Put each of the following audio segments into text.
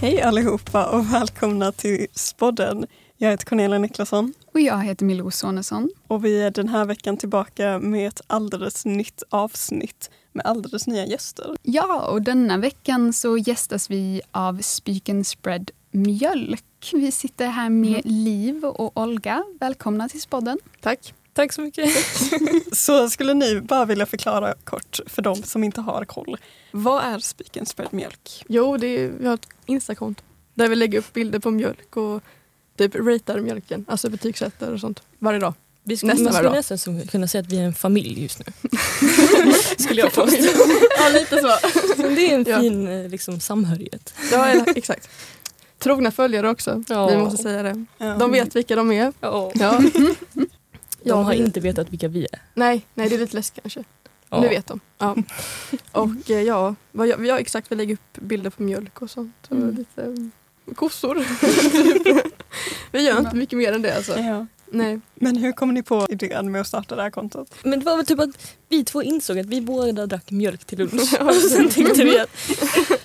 Hej allihopa och välkomna till Spodden. Jag heter Cornelia Niklasson Och jag heter Milou Sonesson. och vi är den här veckan tillbaka med ett alldeles nytt avsnitt med alldeles nya gäster. Ja, och denna veckan så gästas vi av Speak and Spread Mjölk. Vi sitter här med Liv och Olga. Välkomna till podden. Tack. Tack så mycket. Så skulle ni bara vilja förklara kort för de som inte har koll. Vad är Spiken spädd mjölk? Jo, det är, vi har ett Instakonto där vi lägger upp bilder på mjölk och typ ratear mjölken, alltså betygsätter och sånt varje dag. Vi skulle, Nästan man varje skulle dag. nästan som- kunna säga att vi är en familj just nu. skulle jag påstå. Ja, lite så. Det är en Ja. fin eh, liksom, samhörighet. Ja, ja, exakt. Trogna följare också. Ja. Vi måste säga det. Ja. De vet vilka de är. Ja. De har det- inte vetat vilka vi är. Nej, nej, det är lite läskigt kanske. Ja. Nu vet de. Ja. Och eh, ja, vad jag, ja, exakt, vi lägger upp bilder på mjölk och sånt. Och Mm. lite eh, kossor. vi gör inte mycket mer än det alltså. Ja. Nej. Men hur kom ni på idén med att starta det här kontot? Men det var väl typ att vi två insåg att vi båda drack mjölk till lunch. Och sen tänkte vi att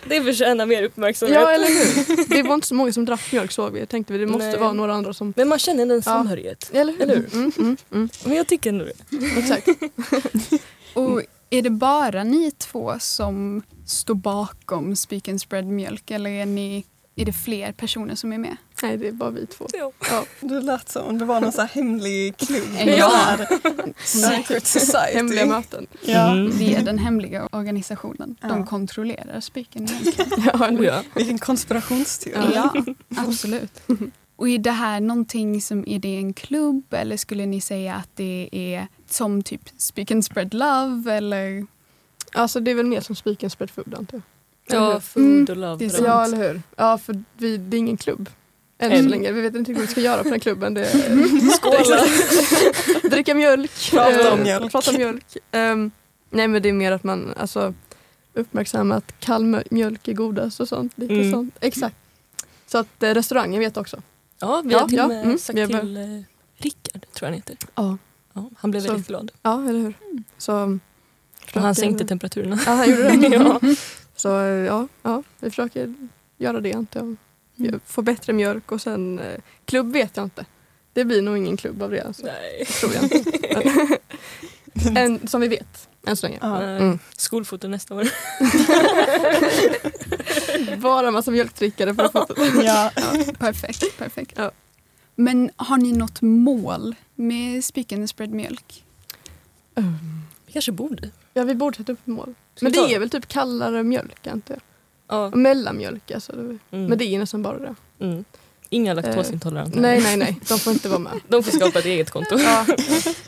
det förtjänar mer uppmärksamhet. Ja, eller hur? Det var inte så många som drack mjölk såg vi. Tänkte vi, det måste Nej. vara några andra som... Men man känner ändå en Ja. samhörighet. Eller hur? Eller hur? Mm, mm, mm. Men jag tycker ändå det. Exakt. Och är det bara ni två som står bakom Speak and Spread Mjölk eller är, ni, är det fler personer som är med? Nej, det är bara vi två. Ja. Ja. Det lät som om det var någon så här hemlig klubb. Ja. Så här, Secret Hemliga society. möten. Ja. Mm. Det är den hemliga organisationen. Ja. De kontrollerar Speak and Mjölk. Ja, eller Oh, hur? ja. Vilken konspirationsteori. Ja, absolut. Och är det här någonting som, är det en klubb eller skulle ni säga att det är som typ Speak and Spread Love eller? Alltså det är väl mer som spiken spread food antar jag. Eller ja, hur? food och love. det är brand. sant. ja, eller hur? Ja, för vi, det är ingen klubb. Än så Mm. länge. Vi vet inte riktigt vad vi ska göra på den klubben. Det är, Skåla! dricka mjölk. Prata om eh, mjölk. Prata om mjölk. Ehm, nej men det är mer att man alltså, uppmärksammar att kall mjö- mjölk är godast och sånt. Lite Mm. sånt. Exakt. Så att eh, restaurangen vet också. Ja, vi Ja, har till ja, och med mm, sagt vi har bör- till eh, Rickard, tror jag han heter. Ja. Ja, han blev Så- väldigt glad. Ja, eller hur? Så, Och han försöker- sänkte temperaturerna. Ja, han gjorde det. ja. Så eh, ja, ja, vi försöker göra det antar jag. Jag Får bättre mjölk och sen eh, klubb vet jag inte. Det blir nog ingen klubb av det alltså, Nej. tror jag. inte. Men- Än, som vi vet, än så länge. Ja. Mm. Skolfoto nästa år. Bara massa mjölkdrickare på fotot. Ja. Perfekt, perfekt. Ja. Men har ni något mål med Speak and Spread Mjölk? Vi kanske borde. Ja, vi borde sätta upp mål. Ska Men vi ta- det är väl typ kallare mjölk antar jag. Ja. Och Mellanmjölk alltså. det- Mm. Men det är nästan bara det. mm. Inga laktosintoleranta. Nej, nej, nej. De får inte vara med. De får skapa ett eget konto. Ja,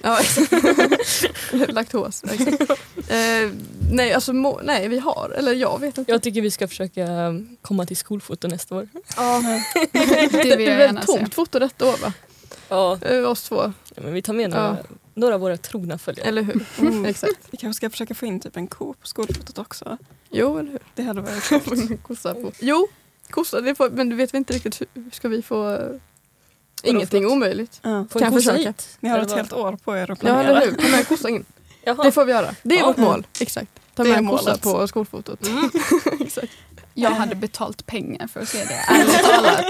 ja exakt. Laktos. Exakt. Eh, nej, alltså må- nej, vi har. Eller jag vet inte. Jag tycker vi ska försöka um, komma till skolfoto nästa år. Ja. Det vill Det är jag väl gärna ett se. tomt foto detta år va? Ja. Eh, Oss två, Men vi tar med några, Ja. några av våra trogna följare. eller hur? Mm. Exakt. Vi kanske ska försöka få in typ en ko på skolfotot också. Jo, eller hur? Det hade varit Då får ni Kossa på. Jo, kossa, det får, men du vet vi inte riktigt hur ska vi få... eh, Ingenting för något? omöjligt. Ja. Får Kan vi kossa försöka. hit? Ni har Eller ett vad? helt år på er att Ja, planera. eller hur? Ta med kossan in. Jaha. Det får vi göra. Det är Ja. vårt mål. Exakt. Ta Det med är en kossa målet. på skolfotot. Exakt. Jag hade betalt pengar för att se det, ärligt talat.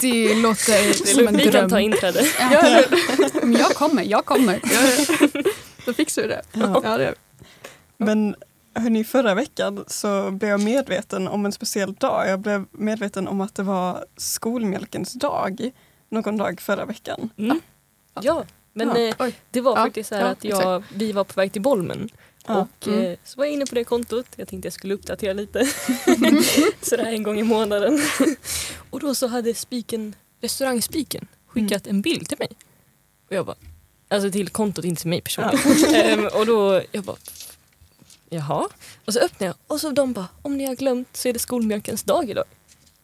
Det låter Det är som en lugnt, vi kan ta dröm. inträde. Ja, men jag kommer, jag kommer. Ja, ja. Då fixar vi det. Ja. Ja, det gör vi. Men hörni, förra veckan så blev jag medveten om en speciell dag. Jag blev medveten om att det var skolmjölkens dag någon dag förra veckan. Mm. Ja, men Ja. eh, Oj. det var Ja, faktiskt så här ja, mm. att jag, vi var på väg till Bolmen. Ja. Och eh, så var jag inne på det kontot. Jag tänkte jag skulle uppdatera lite. Sådär en gång i månaden. och då så hade spiken, restaurangspiken skickat Mm. en bild till mig. Och jag bara, alltså till kontot, inte till mig personligen. Ehm, och då, jag bara, jaha. Och så öppnade jag och så de bara, om ni har glömt så är det skolmjölkens dag idag.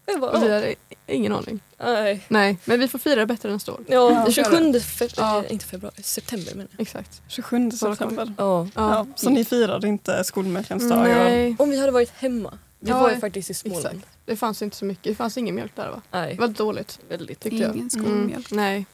Och jag bara, Och vi "Ja, har ingen aning. nej. Nej, men vi får fira det bättre nästa år. Ja, Ja. 27 fe- Ja. eh, inte februari, september menar jag. Exakt. 27 Förra september. Ja. Ja, så ni firade inte skolmjölkens dag? och- Nej, Om vi hade varit hemma. Vi Ja, var ju faktiskt i Småland. exakt. det fanns inte så mycket. Det fanns ingen mjölk där va? Nej, Väldigt dåligt väldigt. tyckte jag. Mm. Ingen skolmjölk. Nej.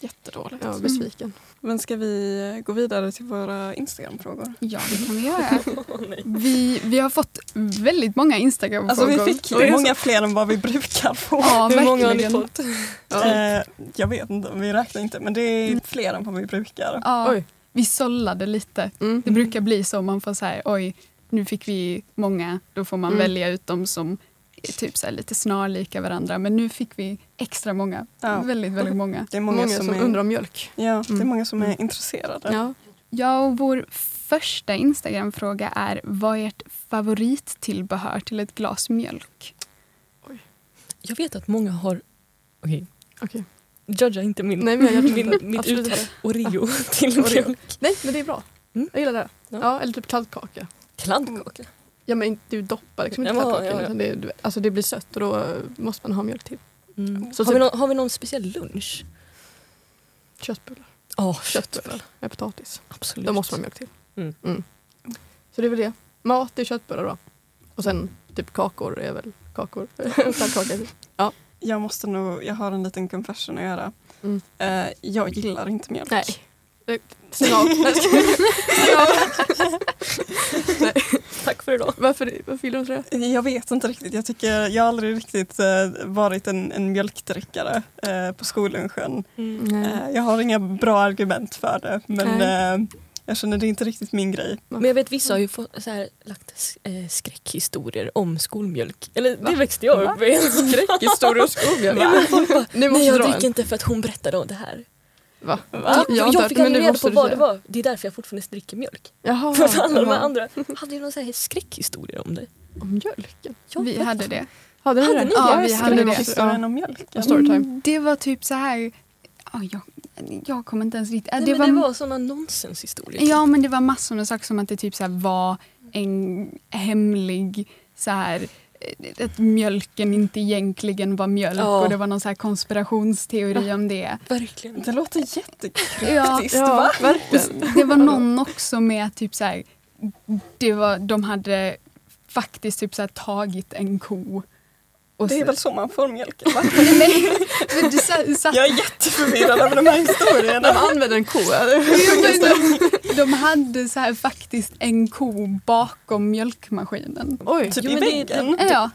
Jättedåligt. Ja, besviken. Men ska vi gå vidare till våra Instagram-frågor? Ja, det kan vi göra. Åh, nej. Vi, vi har fått väldigt många Alltså Instagram-frågor. vi fick Oj, många fler än vad vi brukar få. ja, Hur många har ni verkligen. fått? Eh, jag vet inte, vi räknar inte men det Mm. är fler än vad vi brukar. Ja, Oj. vi sållade lite. Mm. Det brukar bli så, man får så här, oj, nu fick vi många, då får man Mm. välja ut dem som är typ så här lite snarlika varandra. Men nu fick vi extra många, Ja. väldigt, väldigt många. Det är många, Många, som, är, undrar om mjölk. Ja, det är Mm. många som är Mm. intresserade. Ja. Ja, och vår första Instagram-fråga är vad är ert favorittillbehör till ett glas mjölk? Jag vet att många har... Okej, Okej. judga inte min, Nej, men jag gör min, mitt Absolut uttal. inte. Oreo till Oreo. mjölk. Nej, men det är bra. Mm. Jag gillar det. Ja. Ja. eller typ kladdkaka. Kladdkaka. Ja, men inte- du doppar liksom inte Ja, kladdkakan. ja, ja. utan Det, du- alltså, det blir sött och då eh, måste man ha mjölk till. Mm. Så har, vi typ- någon, har vi någon speciell lunch? Köttbullar. Ja, Köttbullar med potatis. Absolut. De måste man ha mjölk till. Mm. Så det är väl det. Mat är köttbullar då. Och sen typ kakor är väl kakor. Kladdkaka. Jag måste nog, jag har en liten confession att göra. Mm. Eh, jag gillar inte mjölk. Nej. Mm. Stäng av. Nej, jag skojar. Tack för idag. Varför, varför gillar du inte det? Jag vet inte riktigt. Jag, tycker, jag har aldrig riktigt eh, varit en, en mjölkdrickare eh, på skollunchen. Mm. Eh, jag har inga bra argument för det men eh, jag känner det är inte riktigt min grej. Men jag vet vissa har ju fått, så här, lagt s- eh, skräckhistorier om skolmjölk. Eller det Va? växte jag Va? upp med. Skräckhistorier och skogen. Ja, men folk bara, Nu måste Nej jag jag dra dricker en. inte för att hon berättade om det här. Va? Jag, Jag har jag, inte hört, fick men aldrig nu reda måste på du vad det säga. var. Det är därför jag fortfarande dricker mjölk. Jaha. För att alla de här jaha. andra hade ju någon så här skräckhistoria om det. Om mjölken? Jag vi bara- hade det. Hade Hade ni Ja, Ja, vi vi hade hade det. Historien om mjölken. Storytime. Det var typ så här, ja, jag, jag kommer inte ens riktigt... Nej, det men det var- var typ- såna nonsenshistorier. Ja, men det var massor med saker som att det typ så här var en hemlig så här eh, att mjölken inte egentligen var mjölk Ja. och det var någon så här konspirationsteori om det. Verkligen. Det låter jättekul. Ja, Ja, verkligen. det var någon också med att typ så här, det var, de hade faktiskt typ så här tagit en ko. Och Det är så- väl så man får mjölken va? Nej, men du sa- satt Jag är jätteförvirrad över de här historierna. De använder en ko. Jo, men de, de hade så här faktiskt en ko bakom mjölkmaskinen. Oj, Typ Jo, i men det- väggen. Ja,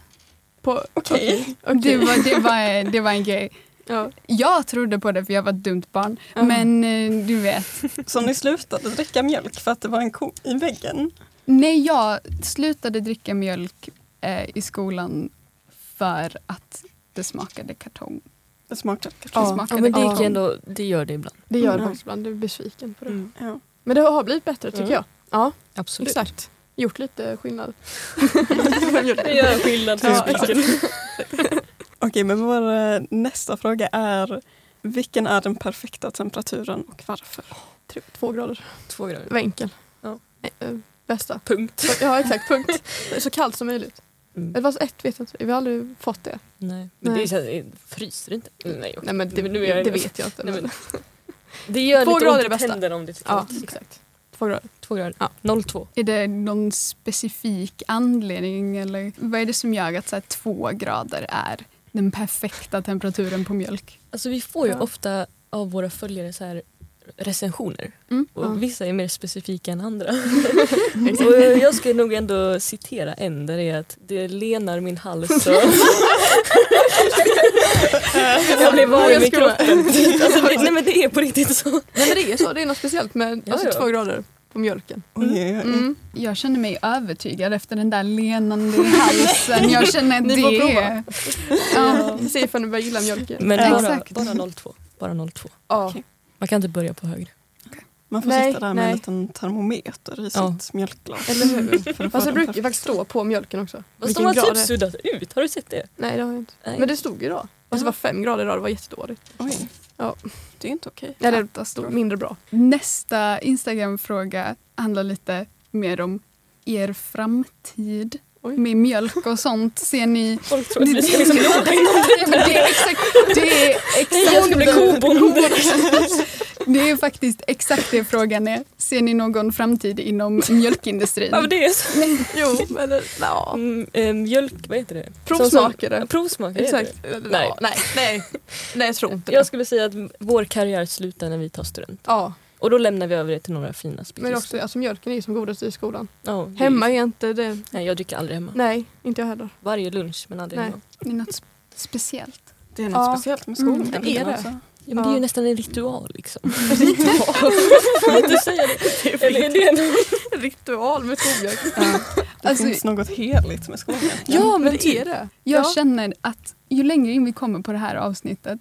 på, Okej. det, var, det, var, det var en grej. ja. Jag trodde på det för jag var ett dumt barn. Ja. Men eh, du vet. Så ni slutade dricka mjölk för att det var en ko i väggen? När jag slutade dricka mjölk eh, i skolan för att det smakade kartong. Det smakade Det kartong. Ja, smakade Ja, men det, kartong. gick ändå, det gör det ibland. Det gör Mm. det faktiskt ibland. Du är besviken på det. Ja. Men det har blivit bättre tycker Mm. jag. Ja, Absolut. exakt. Gjort lite skillnad. Det gör skillnad för Ja, spiken. Okej, men vår eh, nästa fråga är vilken är den perfekta temperaturen och varför? Tre- Typ Två grader. Två Det grader. var enkel. Ja. Eh, eh, Bästa. Punkt. Ja, exakt. Punkt. Så kallt som möjligt. Mm. Eller fast ett vet jag inte. Vi har aldrig fått det. Nej. Men det Nej. är, så här, fryser det inte? Mm, Nej, okej. Nej, men det, Men nu är jag- det vet jag inte. Nej, men- men, det gör Två lite grader ont är i bästa. tänderna om det är Ja, kallt. exakt. Två grader. Två grader. Ja. 0,2. Är det någon specifik anledning eller vad är det som gör att så här, två grader är den perfekta temperaturen på mjölk? Alltså vi får ju Ja. ofta av våra följare så här recensioner. Mm. Och Ja. Vissa är mer specifika än andra. och jag ska nog ändå citera en där det är att det lenar min hals och jag blir Jag varm i skulle- kroppen. Alltså, det, nej men det är på riktigt så. Nej, men det är så. Det är något speciellt med Ja, alltså, ja. två grader på mjölken. Oj, oj, oj. Mm. Jag känner mig övertygad efter den där lenande i halsen. Jag känner att Ni får det är... prova. Ja. Vi ser ifall ni börjar gilla mjölken. Men Ja. bara, Exakt. bara 0,2. Bara 0,2. Ja. Okej. Man kan inte börja på högre. Man får Nej, sitta där med en nej. liten termometer i Ja. sitt mjölkglas. Eller hur? För att få Fast det den brukar ju perfekta. faktiskt stå på mjölken också. Fast de Vilken har grad typ det är. suddat ut, har du sett det? Nej, det har jag inte. Nej. Men det stod ju då. Och så var fem grader idag, det var jättedåligt. Oj. Ja. Det är inte okej. Eller Katastrof. mindre bra. Nästa Instagram-fråga handlar lite mer om er framtid Oj. med mjölk och sånt. Ser ni... Folk tror att vi ska liksom jobba inom Nej, men det är exakt... Det är Nej, jag ska bli kobonde. Det är faktiskt exakt det frågan är. Ser ni någon framtid inom mjölkindustrin? Ja, men det är så. Jo, eller ja. Mm, eh, mjölk, vad heter det? Provsmakare. Provsmakare heter Eh, Exakt. det. Nej. Nej. Ja, nej, nej, nej, jag tror inte det. Jag skulle säga att vår karriär slutar när vi tar student. Ja, Och då lämnar vi över det till några fina men spikers. också, alltså, mjölken är ju som godast i skolan. Ja, det är- Hemma är inte det. Nej, jag dricker aldrig hemma. Nej, inte jag heller. Varje lunch, men aldrig Nej. hemma. Det är något sp- speciellt. Det är något Ja. speciellt med Mm, skolan. det är det. Alltså. Ja, men det är Ja. ju nästan en ritual liksom. Ritual? Får inte säga det. Eller är det en... Ritual med skolmjölk. Det Alltså- finns något heligt med skolan. Ja, men typ. det är det. Jag Ja. känner att ju längre in vi kommer på det här avsnittet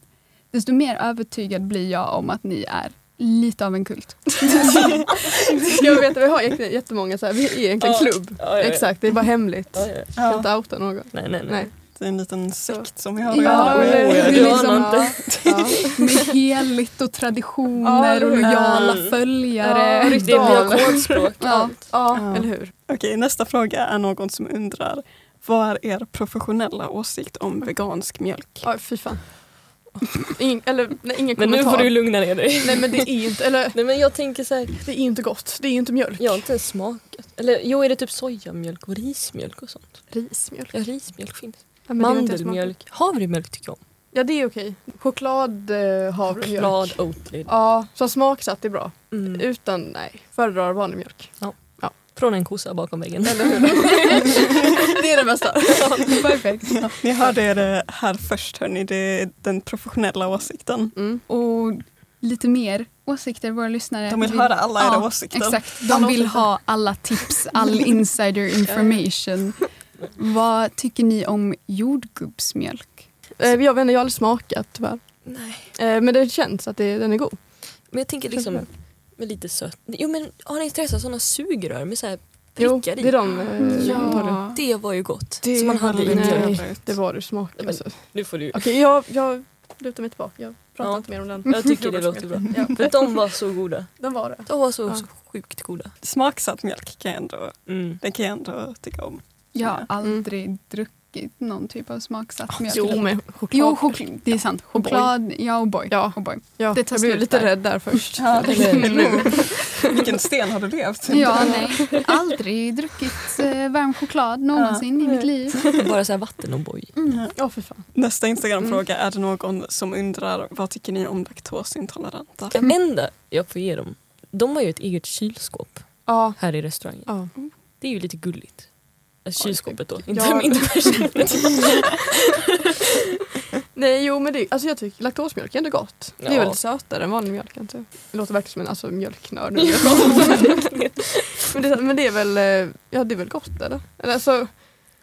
desto mer övertygad blir jag om att ni är lite av en kult. Jag vet, vi har egentligen jättemånga så här, vi är egentligen Ja. klubb. Ja, ja, ja. Exakt, det är bara hemligt. Ja, ja. Ska Ja, inte outa någon. Nej, nej, nej. Nej. det är en liten sekt som vi har Ja, att göra med. eller- Ja, det är ja. liksom- ja, ja. Med heligt och Ja, traditioner eller och hur? lojala Mm. följare. Ja, Det Ritual. blir kodspråk. Ja. ja, eller hur. Okej, nästa fråga är någon som undrar vad är er professionella åsikt om vegansk mjölk? Ja, fy fan. Ingen, eller, nej, ingen Men nu kommentar. får du lugna ner dig. Nej men det är inte, eller Nej men jag tänker så här, det är inte gott. Det är inte mjölk. jag har inte ens smakat. Eller jo, är det typ sojamjölk och rismjölk och sånt? Rismjölk. Ja, rismjölk finns. Ja, men det vet jag inte ens om man- Mandelmjölk. Havremjölk tycker jag om. Ja det är okej. Choklad, eh, havremjölk. Choklad, Oatly. Ja, som smaksatt är bra. Mm. Utan, nej. Föredrar vanlig mjölk. Från en kossa bakom väggen. Eller hur? det är det bästa. Mm. Perfekt. Ni hörde det här först hörni, det är den professionella åsikten. Mm. Och lite mer åsikter våra lyssnare. De vill höra alla era Ja, åsikter. Exakt, Alla de vill åsikter. ha alla tips, all insider information. Vad tycker ni om jordgubbsmjölk? Eh, Jag vet inte, jag har aldrig smakat tyvärr. Nej. Eh, Men det känns att det, den är god. Men jag tänker liksom med lite sött. Jo men har ni intresse av sådana sugrör med så här Jo, prickar det är i? de Mm. eh, Ja. antagligen. Det var ju gott. Det som man hade i var en nej. jävla mjölk. ut. Det var du smakade. men- Alltså. Nu får du. Okej, jag, jag lutar mig tillbaka. Jag pratar Ja. inte mer om den. Jag tycker det låter bra. Ja, För de var så goda. den var det. De var så, Ja. så sjukt goda. Smaksatt mjölk kan jag ändå, Mm. det kan jag ändå tycka om. Jag har Mm. aldrig druckit någon typ av smaksatt mjölk. Jo, men choklad. Jo, choklad. Det är sant. O'boy. Choklad, ja och boy. Ja. O'boy. Ja, Det tar jag blev slut lite där. rädd där först. Ja, Eller nu. Vilken sten har du levt Ja, nej. Aldrig druckit eh, varm choklad någonsin i mitt liv. Bara så här vatten och boj. Mm. Ja, för fan. Nästa Instagram-fråga är det någon som undrar vad tycker ni om laktosintoleranta? Den enda jag får ge dem, de har ju ett eget kylskåp Ja. här i restaurangen. Ja. Det är ju lite gulligt. Alltså Ja, kylskåpet då, det- inte, ja. inte personen. Nej, jo men det, alltså jag tycker laktosmjölk är ändå gott. Det är Ja. väl sötare än vanlig mjölk inte? Det låter verkligen som en alltså, mjölknörd. nu. men, det, men det är väl, eh, ja det är väl gott eller? eller alltså,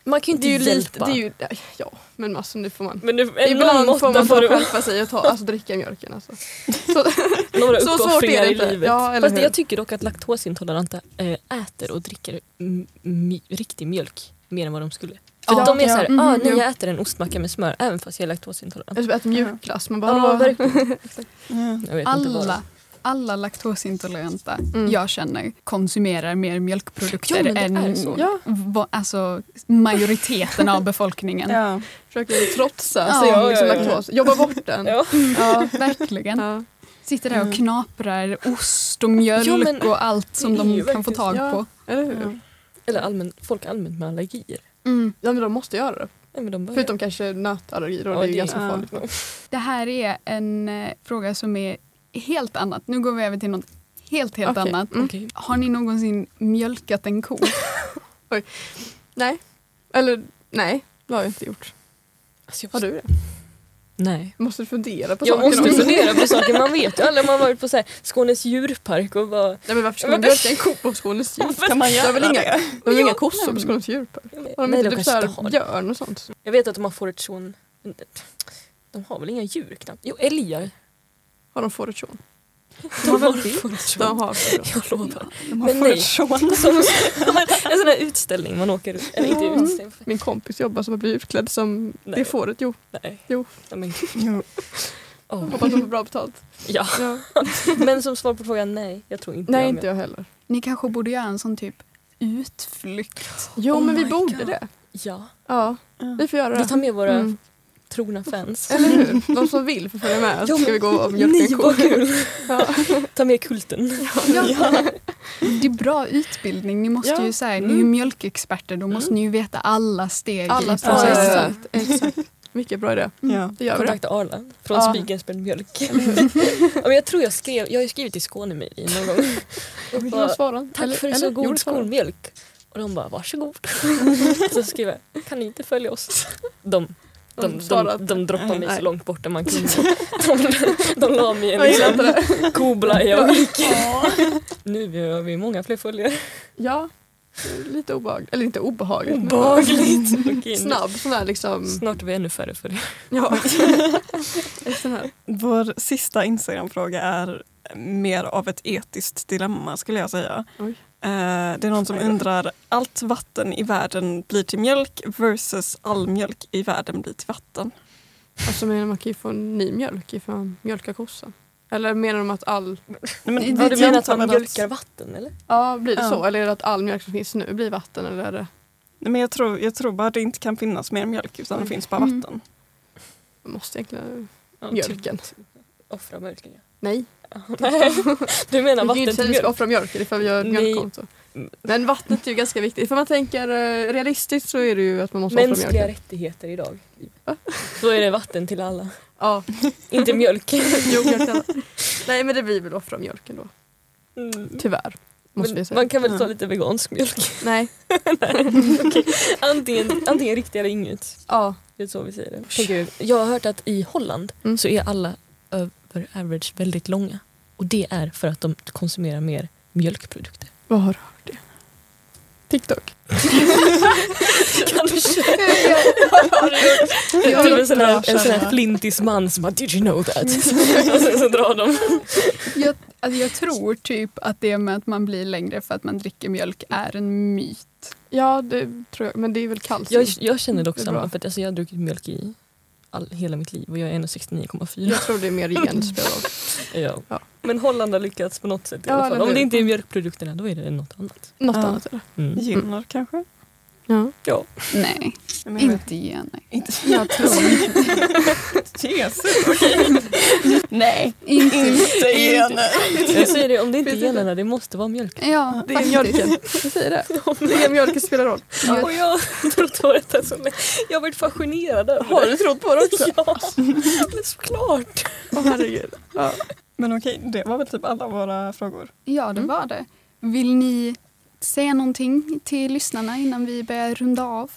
Man kan ju det inte är ju lite, hjälpa. det är ju, ja men alltså nu får man. Men nu, en någon Ibland får måtta man får bara du skärpa sig och ta, alltså dricka mjölken alltså. Så, några så svårt är uppoffringar det i inte. livet. Ja, eller Fast hur? jag tycker dock att laktosintoleranta eh, äter och dricker m- m- riktig mjölk mer än vad de skulle. För Ja, de är ja. såhär, Mhm, ah, nej jo. jag äter en ostmacka med smör även fast jag är laktosintolerant. eller typ äter mjukglass, man bara. Ja, "Åh." verkligen. Ja. Jag vet inte vad. Alla, alla laktosintoleranta Mm. jag känner konsumerar mer mjölkprodukter Ja, men det är än så. Ja, va- alltså, majoriteten av befolkningen. Ja. försöker trotsa Ja, sin ja, liksom, ja. laktos, jobba bort den. Ja. Ja. Verkligen. Ja. Sitter där Mm. och knaprar ost och mjölk Jo, men och allt som det är ju de kan få verkligen- tag ja. på. Eller hur? Ja. Eller allmän, folk allmänt med allergier. Mm. Ja men de måste göra det. Nej, men de börjar. Förutom kanske nötallergier och Ja, det är ju det- ganska ja. farligt. Det här är en eh, fråga som är helt annat. Nu går vi över till något helt, helt Okej. annat. Mm. Okej. Har ni någonsin mjölkat en ko? Nej. Eller nej, det har jag inte gjort. Alltså, jag Har måste- du det? Nej. Måste du fundera på Jag saken måste också? fundera på saker. Man vet ju aldrig om man varit på så här, Skånes djurpark och bara... Nej men varför ska man mjölka en ko på Skånes djur? Kan man Det är göra väl det? inga- De har Ja, inga kossor på men- Skånes djurpark. Har de Nej, inte de typ kanske inte såhär har det. björn och sånt? Jag vet att de har fått sån... De har väl inga djur knappt? Jo, älgar. Har de fårutjon? De har det? fårutjon. De har fårutjon. Jag lovar. De har Men fått nej. tjån. Som, som en, en sån här utställning man åker ut. Eller inte Mm. utställning. Min kompis jobbar som har blivit utklädd som det Nej. fåret. Jo, Nej. Jo. Ja, Men, Jo. åh. hoppas de får bra betalt. ja. Ja. men som svar på frågan, nej. Jag tror inte Nej, jag inte jag heller. Ni kanske borde göra en sån typ utflykt. Jo, Oh men vi my borde God. det. Ja. Ja, vi får göra Vi tar det. med våra Mm. trogna fans. Eller hur? De som vill får följa med. Ja, Så ska vi gå och mjölka Ni, en ko. vad kul! Ja. Ta med kulten. Ja. Det är bra utbildning. Ni måste Ja. ju säga, ni är ju Mm. mjölkexperter, då måste ni ju veta alla steg Alla i steg. Ja, processen. exakt. exakt. Mycket bra idé. Ja. Det gör vi. Kontakta Arla från Ja. Spikens med mjölk. ja, men jag tror jag skrev, jag har ju skrivit till Skånemejeri någon gång. Och det. bara, Jag svarar inte. Tack Eller- för eller? så Jo, god det svarar de. skolmjölk. Och de bara varsågod. så skrev jag, kan ni inte följa oss? De, de, De de, svarade de, inte. droppade mig Nej. så långt bort man kunde. De, de la mig i en Jag gillar inte liksom, det. koblaja och gick. Nu har vi många fler följare. Ja. Lite obehagligt. Eller inte obehagligt. men- Obehagligt. Okej, nu- Snabb sån här liksom. Snart är vi ännu färre följare. Ja. En sån här. Vår sista Instagram-fråga är mer av ett etiskt dilemma skulle jag säga. Oj. Eh, Det är någon som Aj då. undrar, allt vatten i världen blir till mjölk versus all mjölk i världen blir till vatten. Alltså menar man kan ju få ny mjölk ifrån mjölka kossan. Eller menar de att all... Nej, men, Det- Har det- du jag menat antar typ att man väl mjölkar vatten eller? Ja, blir det Ja. så? Eller är det att all mjölk som finns nu blir vatten? Eller är det... Nej, men jag, tror, jag tror bara det inte kan finnas mer mjölk utan det Mm. finns bara Mm. vatten. Man måste egentligen... Ja, Mjölken. typ. Offra mjölken ja. Nej. Nej, du menar Vi kan ju inte vatten säga att till vi ska mjölk? offra mjölken ifall vi gör ett Nej. mjölkkonto. Mm. Men vattnet är ju ganska viktigt. För man tänker eh, realistiskt så är det ju att man måste offra Mänskliga mjölken. rättigheter idag. Då är det vatten till alla. Ja, Inte mjölk. jo, mjölk till alla. Nej men det blir väl offra mjölken då. Typ, Tyvärr. Måste vi Mm. Men säga. man kan väl ta Ja. lite vegansk mjölk? Nej. Antingen, antingen riktigt eller inget. Ja. Det är så vi säger det. Tänker du, Jag har hört att i Holland Mm. så är alla över average väldigt långa. Och det är för att de konsumerar mer mjölkprodukter. Vad har du hört det? TikTok. Kanske. Jag har Typ en sån här, bra en sån här källa. flintis man som bara “Did you know that?” Mm. Och sen så drar de. Jag, alltså jag tror typ att det med att man blir längre för att man dricker mjölk är en myt. Ja det tror jag. Men det är väl kallt. Jag, jag känner dock Det är samma, bra. för att, alltså, jag har druckit mjölk i all, hela mitt liv och jag är 1,69,4. Jag tror det är mer genspel av. Ja. Ja. Men Holland har lyckats på något sätt i Ja, alla eller fall. Om hur? det inte är mjölkprodukterna då är det något annat. Något Ja. annat eller? Mm. Gynnar kanske? Ja. Ja. Nej, Jag menar, inte igen. Nej. Inte Jag tror. Jesus, okej. Nej, Inte. inte gener. Jag säger det, om det inte är Finns inte. generna, det måste vara mjölk. Ja, Det är faktiskt. mjölken. Jag säger det. Det är mjölken som spelar roll. Jag- Och jag har trott på detta så länge. Jag har varit fascinerad över Har du trott på det också? Ja, men såklart. Åh herregud. Ja. Men okej, det var väl typ alla våra frågor. Ja, det Mm. var det. Vill ni säga någonting till lyssnarna innan vi börjar runda av?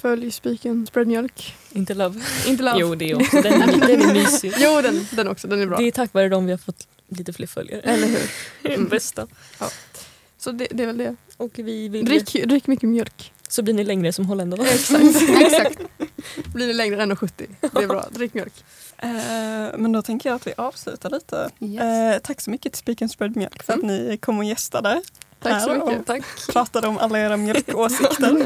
Följ spiken, spread mjölk. Inte love. Inte love. Jo, det är också. Den är, den är mysig. Jo, den, den också. Den är bra. Det är tack vare dem vi har fått lite fler följare. Eller hur? Mm. Bästa. Så det, det är väl det. Och vi vill Drick, drick mycket mjölk. så blir ni längre som holländare. Exakt. Exakt. Blir det längre än 70. Det är bra. Drick mjölk. Eh, men då tänker jag att vi avslutar lite. Eh, tack så mycket till Speak and Spread Mjölk för att ni kom och gästade. Tack så här mycket. Och pratade om alla era mjölkåsikter.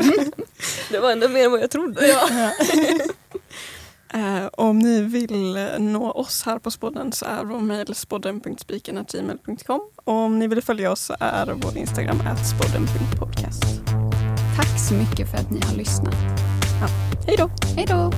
Det var ändå mer än vad jag trodde. Eh, om ni vill nå oss här på Spodden så är vår mejl spodden.spiken.gmail.com och om ni vill följa oss så är vår Instagram att spodden.podcast. Tack så mycket för att ni har lyssnat. Hej då! Hej då!